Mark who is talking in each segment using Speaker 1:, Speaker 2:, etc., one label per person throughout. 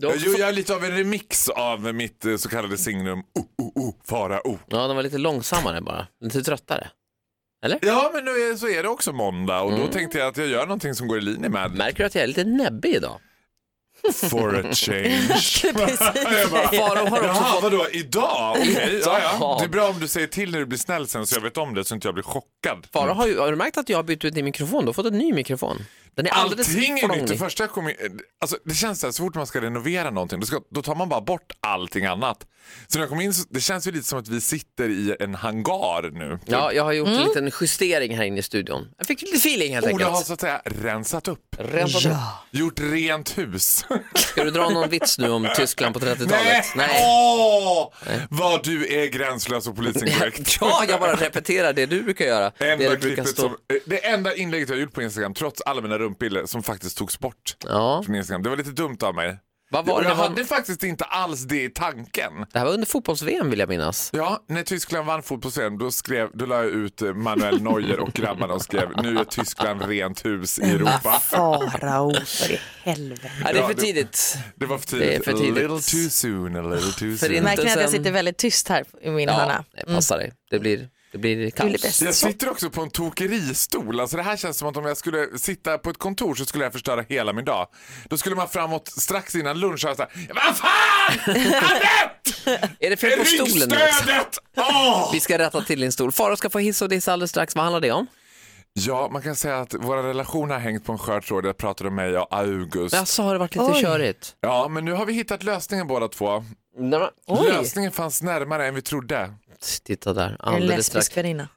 Speaker 1: Ja,
Speaker 2: Jo, jag är lite av en remix av mitt eh, så kallade signum oh, oh, oh, Farao.
Speaker 1: ja, de var lite långsammare bara. Lite tröttare.
Speaker 2: Ja, men nu är, så är det också måndag och då tänkte jag att jag gör någonting som går i linje med
Speaker 1: Märker du att jag är lite näbbig idag?
Speaker 2: For a change.
Speaker 1: Precis. Faro har också
Speaker 2: Jaha,
Speaker 1: fått...
Speaker 2: vadå, idag? Okej, ja, ja.
Speaker 1: Idag.
Speaker 2: Det är bra om du säger till när du blir snäll sen så jag vet om det så inte jag blir chockad.
Speaker 1: Faro har, ju, har du märkt att jag har bytt ut din mikrofon? Du har fått en ny mikrofon. Den är alldeles
Speaker 2: Allting är nytt. Det,
Speaker 1: flånglig.
Speaker 2: första jag kom in, alltså, det känns så här, så fort man ska renovera någonting, då, ska, då tar man bara bort allting annat. Så när jag kom in, så, det känns ju lite som att vi sitter i en hangar nu.
Speaker 1: Ja, jag har gjort
Speaker 3: Mm.
Speaker 1: en liten justering här inne i studion. Jag fick lite feeling helt
Speaker 2: Ola har
Speaker 1: enkelt.
Speaker 2: så att säga rensat upp.
Speaker 1: Rensat upp.
Speaker 2: Gjort rent hus.
Speaker 1: Ska du dra någon vits nu om Tyskland på 30-talet?
Speaker 2: Nej! Åh! Vad du är gränslös och politiskt inkorrekt.
Speaker 1: Ja, jag bara repeterar det du brukar göra. Det,
Speaker 2: Enda
Speaker 1: det brukar
Speaker 2: klippet
Speaker 1: stå.
Speaker 2: som, eh, det enda inlägget jag har gjort på Instagram, trots alla mina rumpbilder, som faktiskt togs bort
Speaker 1: Ja.
Speaker 2: från Instagram. Det var lite dumt av mig.
Speaker 1: Vad var det?
Speaker 2: jag
Speaker 1: Det var-
Speaker 2: hade faktiskt inte alls det i tanken.
Speaker 1: Det här var under fotbolls-VM vill jag minnas.
Speaker 2: Ja, när Tyskland vann fotbolls-VM då, skrev- då la jag ut eh, Manuel Neuer och grabbarna och skrev nu är Tyskland rent hus i Europa.
Speaker 3: Farao, för i helvete.
Speaker 1: Nej, det är
Speaker 2: Ja,
Speaker 1: för
Speaker 2: det-
Speaker 1: tidigt.
Speaker 2: Det var för
Speaker 1: Det är
Speaker 2: tidigt.
Speaker 1: för tidigt.
Speaker 2: A little too soon, a little
Speaker 1: För
Speaker 2: too soon.
Speaker 1: in-
Speaker 3: Märker ni att jag
Speaker 1: sen-
Speaker 3: sitter väldigt tyst här i min hörna? Mm.
Speaker 1: Ja, det passar dig. Det blir, det blir
Speaker 3: Det är
Speaker 1: kaos.
Speaker 3: bäst.
Speaker 2: Jag sitter också på en tokeristol. Alltså det här känns som att om jag skulle sitta på ett kontor så skulle jag förstöra hela min dag. Då skulle man framåt strax innan lunch höra såhär Vad fan! Anette!
Speaker 1: Är det fel på stolen nu också?
Speaker 2: Ryggstödet! Åh!
Speaker 1: Vi ska rätta till din stol. Farao ska få hiss och diss alldeles strax. Vad handlar det om?
Speaker 2: Ja, man kan säga att våra relationer har hängt på en skör tråd. Jag pratade om mig och August.
Speaker 1: Jaså, har det varit lite körigt?
Speaker 2: Ja, men nu har vi hittat lösningen båda två.
Speaker 1: Oj!
Speaker 2: Lösningen fanns närmare än vi trodde.
Speaker 1: Titta där,
Speaker 3: En
Speaker 1: alldeles strax.
Speaker 3: lesbisk väninna.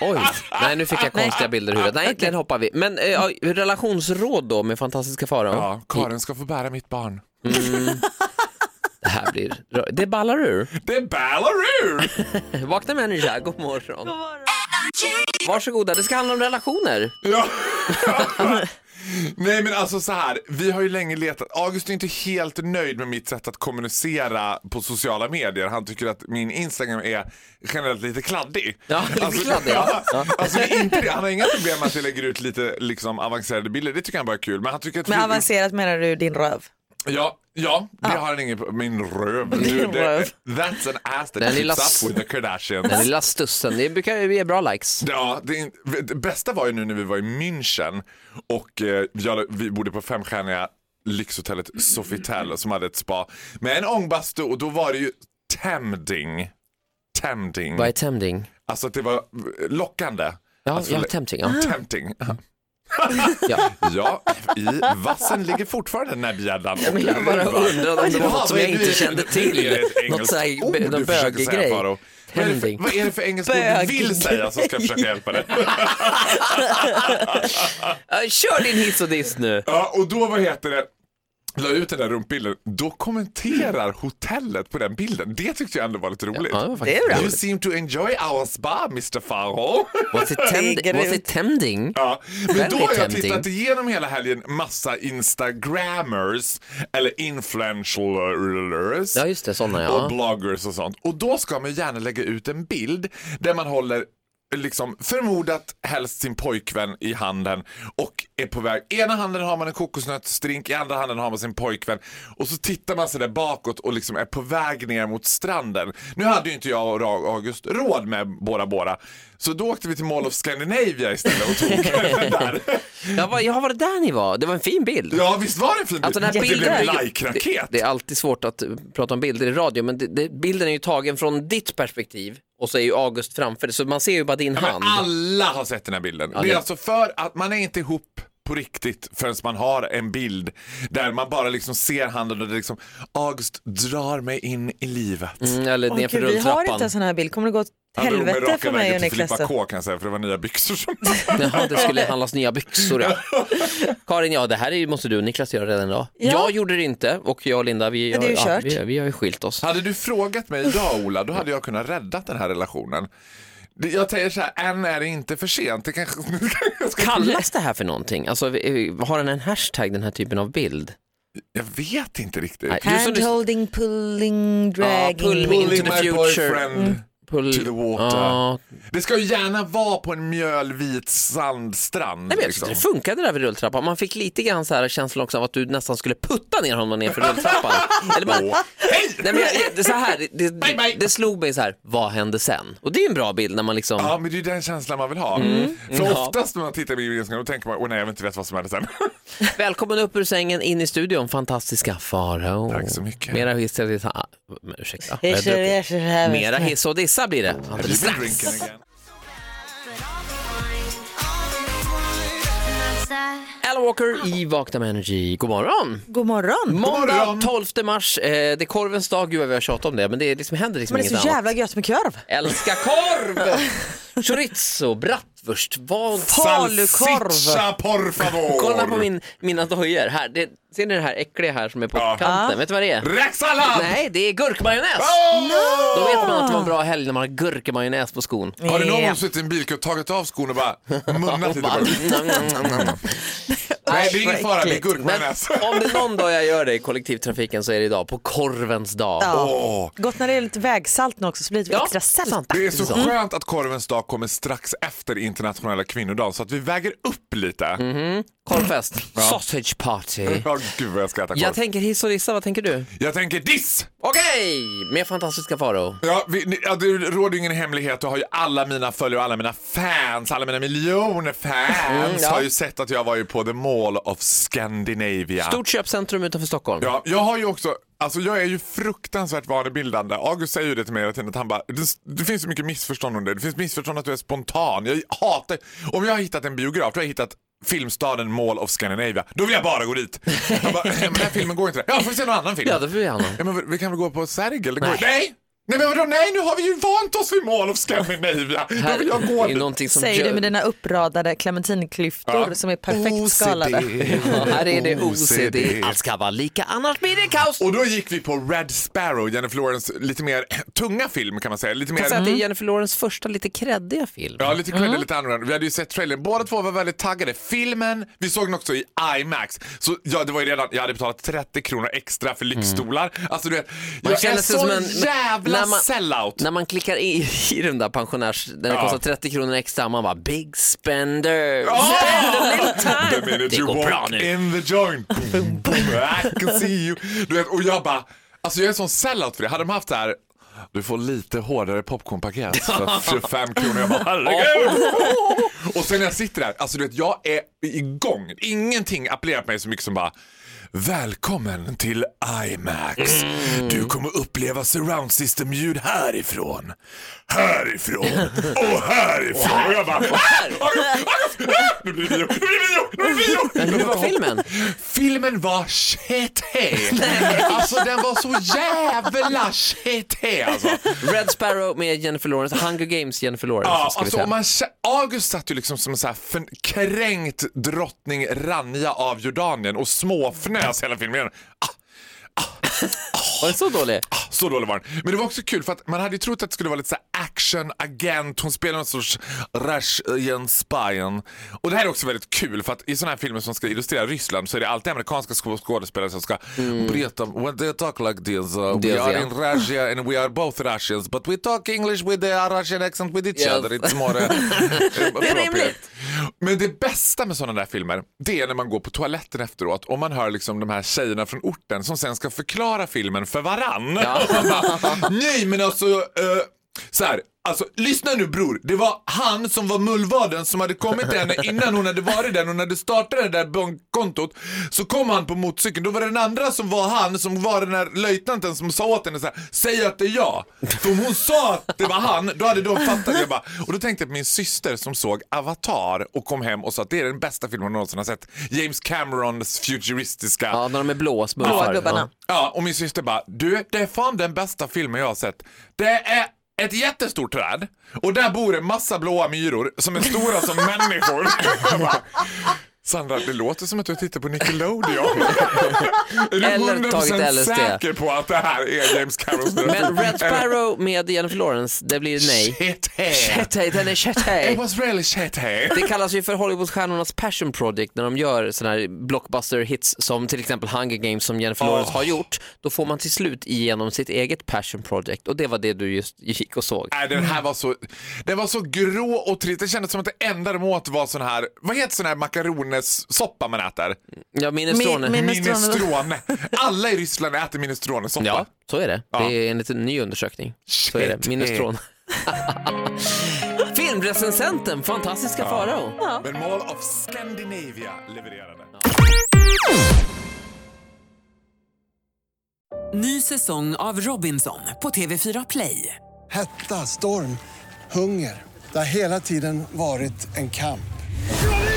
Speaker 1: Oj, nej nu fick jag konstiga bilder i huvudet. Nej, den hoppar vi. Men eh, ja, relationsråd då med fantastiska Farao.
Speaker 2: Ja, Karin ska få bära mitt barn.
Speaker 1: Det här blir... Det ballar ur.
Speaker 2: Det ballar ur!
Speaker 1: Vakna människa, god morgon. Varsågoda, det ska handla om relationer.
Speaker 2: Ja. Nej men alltså så här, vi har ju länge letat. August är inte helt nöjd med mitt sätt att kommunicera på sociala medier. Han tycker att min Instagram är generellt lite kladdig.
Speaker 1: Ja, lite kladdig, ja.
Speaker 2: alltså, det är inte det. Han har inga problem med att jag lägger ut lite liksom, avancerade bilder. Det tycker han bara är kul. Men han tycker att
Speaker 3: Men
Speaker 2: vi-
Speaker 3: avancerat menar du din röv?
Speaker 2: Ja, ja det har han ingen Min röv. Du,
Speaker 3: Din
Speaker 2: det,
Speaker 3: röv.
Speaker 2: that's an ass
Speaker 1: Den
Speaker 2: that keeps
Speaker 1: lilla s-
Speaker 2: up with the Kardashians.
Speaker 1: Den lilla stussen, det brukar ju ge bra likes.
Speaker 2: Ja, det, är- det bästa var ju nu när vi var i München och eh, jag, vi bodde på femstjärniga lyxhotellet Sofitel som hade ett spa med en ångbastu och då var det ju Thamding. Thamding.
Speaker 1: Vad är tempting?
Speaker 2: Alltså att det var lockande.
Speaker 1: Ja,
Speaker 2: Alltså,
Speaker 1: ja
Speaker 2: le-
Speaker 1: tempting. Ja.
Speaker 2: Tempting.
Speaker 1: Ja.
Speaker 2: Ja, i vassen ligger fortfarande den här bjäddan.
Speaker 1: Ja, Men jag bara undrade om det var något som jag inte kände
Speaker 2: Är det
Speaker 1: till.
Speaker 2: ett engelskt
Speaker 1: Något såhär,
Speaker 2: ord du
Speaker 1: någon
Speaker 2: försöker
Speaker 1: bögig
Speaker 2: säga,
Speaker 1: grej.
Speaker 2: Faro? Vad är det för-
Speaker 1: Pending.
Speaker 2: Vad är det för engelskt ord du vill
Speaker 3: Bögig
Speaker 2: säga så ska jag försöka hjälpa dig?
Speaker 1: Ja, Kör din hiss och diss nu.
Speaker 2: Ja, och då vad heter det? La ut den där rumpbilden, då kommenterar hotellet på den bilden. Det tyckte jag ändå var lite roligt.
Speaker 1: Ja, det var faktiskt
Speaker 2: You
Speaker 1: roligt.
Speaker 2: seem to enjoy our spa, Mr Farao.
Speaker 1: Was it, tem- was it tempting?
Speaker 2: Ja, men då
Speaker 1: Väldigt
Speaker 2: har jag
Speaker 1: tempting.
Speaker 2: tittat igenom hela helgen massa instagrammers eller influencers
Speaker 1: Ja, just det, sådana
Speaker 2: och
Speaker 1: ja.
Speaker 2: bloggers och sånt. Och då ska man ju gärna lägga ut en bild där man håller liksom förmodat helst sin pojkvän i handen och är på väg. Ena handen har man en kokosnötsdrink, i andra handen har man sin pojkvän och så tittar man sig där bakåt och liksom är på väg ner mot stranden. Nu hade ju inte jag och Ra- August råd med Bora Bora så då åkte vi till Mall of Scandinavia istället och tog den där.
Speaker 1: Jag var, jag var det där ni var? Det var en fin bild.
Speaker 2: Ja visst var det en fin bild?
Speaker 1: Alltså den här
Speaker 2: det blev
Speaker 1: bilden är
Speaker 2: en
Speaker 1: ju- det,
Speaker 2: like-raket.
Speaker 1: det är alltid svårt att eh, prata om bilder i radio, men det, det, bilden är ju tagen från ditt perspektiv och så är ju August framför dig, så man ser ju bara din
Speaker 2: Men
Speaker 1: hand.
Speaker 2: alla har sett den här bilden. det är
Speaker 1: det-
Speaker 2: alltså för att man är inte ihop på riktigt förrän man har en bild där man bara liksom ser handen och det liksom August drar mig in i livet.
Speaker 1: Mm, Eller
Speaker 3: Åh,
Speaker 1: nerför
Speaker 3: Gud, vi har
Speaker 1: Mm, rulltrappan.
Speaker 3: inte en sån här bild. Kommer det gå
Speaker 2: drog
Speaker 3: helvete
Speaker 2: mig
Speaker 3: för
Speaker 2: raka
Speaker 3: mig
Speaker 2: vägen
Speaker 3: och
Speaker 2: till
Speaker 3: Niklas.
Speaker 2: Filippa
Speaker 3: då.
Speaker 2: K kan jag säga, för det var nya byxor som...
Speaker 1: Jaha, det skulle handlas nya byxor ja. Karin, ja det här är ju- måste du och Niklas göra redan idag.
Speaker 3: Ja.
Speaker 1: Jag gjorde det inte och jag och Linda, vi,
Speaker 3: Ja, det är ju
Speaker 1: ja,
Speaker 3: kört.
Speaker 1: vi, vi har ju skilt oss.
Speaker 2: Hade du frågat mig idag Ola, då hade jag kunnat rädda den här relationen. Det- Jag säger så här, än är det inte för sent. Det kanske... jag ska-
Speaker 1: Kallas det här för någonting? Alltså, vi- har den en hashtag, den här typen av bild?
Speaker 2: Jag vet inte riktigt.
Speaker 1: Nej. Du som lyssnar-
Speaker 3: Handholding, pulling,
Speaker 1: Ja,
Speaker 3: dragging.
Speaker 1: pull me into
Speaker 2: Pulling
Speaker 1: the
Speaker 2: my
Speaker 1: future.
Speaker 2: boyfriend
Speaker 1: Pull...
Speaker 2: to the water.
Speaker 1: Ja.
Speaker 2: Det ska ju gärna vara på en mjölvit sandstrand.
Speaker 1: Nej, men jag
Speaker 2: liksom.
Speaker 1: tyckte det funkade där vid rulltrappan. Man fick lite grann så här känslan också av att du nästan skulle putta ner honom ner för rulltrappan. Eller bara,
Speaker 2: Åh, Hej!
Speaker 1: nej, men jag, det, så här, det, det,
Speaker 2: Bye, bye.
Speaker 1: det slog mig så här, vad hände sen? Och det är ju en bra bild när man liksom,
Speaker 2: Ja, men det är ju den känslan man vill ha.
Speaker 1: Mm.
Speaker 2: Mm. För
Speaker 1: Ja.
Speaker 2: oftast när man tittar i videon då tänker man, åh nej, jag vet inte vet vad som hände sen.
Speaker 1: välkommen upp ur sängen, in i studion, fantastiska Farao.
Speaker 2: Tack så mycket.
Speaker 1: Mera hiss och dissa. Ah, men Ursäkta,
Speaker 3: Jag
Speaker 1: jag
Speaker 3: kör-
Speaker 1: druckit.
Speaker 3: jag kör här.
Speaker 1: Mera hiss och dissa blir det
Speaker 2: Have you
Speaker 1: alldeles
Speaker 2: been
Speaker 1: strax.
Speaker 2: drinking again?
Speaker 1: Alan Walker i Vakna med Energy, god morgon!
Speaker 3: God morgon.
Speaker 1: Måndag
Speaker 2: morgon.
Speaker 1: 12 mars, eh, det är korvens dag, gud vad vi har tjatat om det, men det liksom, händer liksom
Speaker 3: Men det är
Speaker 1: inget
Speaker 3: så
Speaker 1: annat.
Speaker 3: jävla gött med korv.
Speaker 1: Älskar korv! Chorizo, bratwurst, vad...
Speaker 3: Falukorv.
Speaker 2: Salsiccia por favor!
Speaker 1: Kolla på min, mina dojor här. Det, ser ni det här äckliga här som är på
Speaker 2: Ja.
Speaker 1: kanten? Vet du vad det är?
Speaker 2: Räksallad!
Speaker 1: Nej, det är gurkmajonnäs!
Speaker 2: Åh!
Speaker 1: Då vet man att det var en bra helg när man har gurkmajonnäs på skon.
Speaker 2: Har du någon
Speaker 3: Ja.
Speaker 2: gång suttit i en bilkö och tagit av skon och bara munnat lite på den? Nej, det är ingen
Speaker 3: vad
Speaker 2: fara, det är
Speaker 3: äckligt.
Speaker 1: Men
Speaker 2: gurkmajonnäs.
Speaker 1: om det är någon dag jag gör det i kollektivtrafiken så är det idag, på korvens dag.
Speaker 3: Ja.
Speaker 2: Åh,
Speaker 3: Gott när det är lite vägsalt nu också så blir det
Speaker 1: Ja,
Speaker 3: extra sälta.
Speaker 1: sant.
Speaker 2: Det är så
Speaker 1: Mm.
Speaker 2: skönt att korvens dag kommer strax efter internationella kvinnodagen så att vi väger upp lite.
Speaker 1: Mm. Korvfest, sausage party.
Speaker 2: Ja, gud vad jag ska äta korv.
Speaker 1: Jag tänker hiss och dissa, vad tänker du?
Speaker 2: jag tänker diss!
Speaker 1: Okej, med fantastiska Farao.
Speaker 2: Ja, vi, ni- ja, det råder ju ingen hemlighet. Du har ju alla mina följare och alla mina fans, alla mina miljoner fans
Speaker 1: Mm, ja.
Speaker 2: har ju sett att jag var ju på The Mall of Scandinavia.
Speaker 1: Stort köpcentrum utanför Stockholm.
Speaker 2: Ja, jag har ju också, alltså jag är ju fruktansvärt vanebildande. August säger ju det till mig hela tiden att han bara, det, det finns så mycket missförstånd om det. Det finns missförstånd att du är spontan. Jag hatar, om jag har hittat en biograf, då har jag hittat Filmstaden Mall of Scandinavia. Då vill jag bara gå dit. Han bara, "Nej, men den här filmen går inte där. Ja, får vi se någon annan film?
Speaker 1: Ja, det får vi annan.
Speaker 2: Ja, men vi kan väl gå på Sergel? Det går...
Speaker 1: Nej.
Speaker 2: Nej. nej! men vadå nej? Nu har vi ju vant oss vid Mall of Scandinavia. Då vill jag gå
Speaker 1: är ju
Speaker 2: dit.
Speaker 1: någonting som
Speaker 3: Säger
Speaker 1: gör-
Speaker 3: du med dina uppradade clementinklyftor som är perfekt skalade.
Speaker 1: Ja, här är det OCD. Allt ska vara lika, annars blir det kaos.
Speaker 2: Och då gick vi på Red Sparrow, Jennifer Lawrence lite mer tunga film kan man säga. Lite
Speaker 1: Jag
Speaker 2: mer...
Speaker 1: kan säga att det Mm. är Jennifer Lawrence första lite kreddiga film.
Speaker 2: Ja, lite creddig, lite annorlunda. Vi hade ju sett trailern. Båda två var väldigt taggade. Filmen, vi såg den också i IMAX. Så ja, det var ju redan, jag hade betalat 30 kronor extra för lyxstolar. Alltså du vet, jag är
Speaker 1: Mm. känner sig
Speaker 2: så
Speaker 1: som en- när
Speaker 2: jävla
Speaker 1: man-
Speaker 2: sellout.
Speaker 1: När man klickar i, i den där pensionärs, när det
Speaker 2: Ja.
Speaker 1: kostar 30 kronor extra, man bara big spender.
Speaker 2: Ja!
Speaker 1: Spend a little time.
Speaker 2: The minute
Speaker 1: Det
Speaker 2: you
Speaker 1: går bra
Speaker 2: walk
Speaker 1: nu.
Speaker 2: in the joint, boom, boom, I can see you. Du vet, och jag bara, alltså jag är en sån sellout för det. Hade de haft det här, du får lite hårdare popcornpaket för 25 kronor. Jag bara, herregud! och sen när jag sitter där, alltså du vet, jag är igång. Ingenting appellerar på mig så mycket som bara, Välkommen till IMAX. Du kommer uppleva surround system-ljud härifrån, härifrån och härifrån. Och jag bara, "Ah! Ah! Ah! nu blir det bio, nu blir det bio, nu blir det bio.
Speaker 1: Hur var filmen?
Speaker 2: Filmen var cheté. Alltså den var så jävla cheté alltså.
Speaker 1: Red Sparrow med Jennifer Lawrence, Hunger Games Jennifer Lawrence.
Speaker 2: Ja,
Speaker 1: ska vi
Speaker 2: alltså,
Speaker 1: säga.
Speaker 2: om man, kä- August satt ju liksom som en så här förn- kränkt drottning Rania av Jordanien och småfnös hela filmen.
Speaker 1: Var den så dålig?
Speaker 2: Så dålig var den. Men det var också kul för att man hade ju trott att det skulle vara lite så här action-agent. Hon spelar någon sorts Russian spy. Och det här är också väldigt kul för att i sådana här filmer som ska illustrera Ryssland så är det alltid amerikanska skå- skådespelare som ska berätta om when they talk like this. Uh,
Speaker 1: This,
Speaker 2: we are
Speaker 1: yeah.
Speaker 2: in Russia and we are both Russians but we talk English with the Russian accent with each
Speaker 1: Yes.
Speaker 2: other. It's more uh,
Speaker 1: Det är
Speaker 2: appropriate.
Speaker 1: rimligt.
Speaker 2: Men det bästa med sådana där filmer, det är när man går på toaletten efteråt och man hör liksom de här tjejerna från orten som sen ska förklara filmen för varann. Nej men alltså, eh, så här. Alltså, lyssna nu bror. Det var han som var mullvaden som hade kommit till henne innan hon hade varit där. Hon hade startat det där bankkontot. Så kom han på motorcykeln. Då var det den andra som var han som var den här löjtnanten som sa åt henne så här, säg att det är jag. För om hon sa att det var han, då hade de fattat. Jag bara, och då tänkte jag på min syster som såg Avatar och kom hem och sa att det är den bästa filmen hon någonsin har sett. James Camerons futuristiska
Speaker 1: Ja, när de är blå smurfar.
Speaker 3: Blåa gubbarna.
Speaker 2: Ja, och min syster bara, du det är fan den bästa filmen jag har sett. Det är ett jättestort träd och där bor en massa blåa myror som är stora som människor. Jag bara, Sandra, det låter som att du tittar på Nickelodeon. är du
Speaker 1: Eller
Speaker 2: 100%
Speaker 1: tagit LSD.
Speaker 2: säker på att det här är James Carrolls
Speaker 1: Men Red Sparrow med Jennifer Lawrence, det blir nej.
Speaker 2: Shit,
Speaker 1: Chetey, den är
Speaker 2: It
Speaker 1: Chetey.
Speaker 2: was really shit hey.
Speaker 1: Det kallas ju för Hollywoodstjärnornas passion project när de gör sådana här blockbuster hits som till exempel Hunger Games som Jennifer Lawrence har gjort. Då får man till slut igenom sitt eget passion project och det var det du just gick och såg.
Speaker 2: Nej, den här var så, den var så grå och trist. Det kändes som att det enda de åt var sån här, vad heter sån här makaronesoppa man äter?
Speaker 1: Ja, minestrone.
Speaker 3: Min- min-
Speaker 2: Minestrone. Alla i Ryssland äter minestronesoppa.
Speaker 1: Ja, så är det.
Speaker 2: Ja.
Speaker 1: Det är enligt en ny undersökning. Så är det.
Speaker 2: Shit.
Speaker 1: Minestron. Filmrecensenten, fantastiska Farao.
Speaker 2: Men Mall of Scandinavia levererade.
Speaker 4: Ny säsong av Robinson på TV4 Play.
Speaker 5: Hetta, storm, hunger. Det har hela tiden varit en kamp.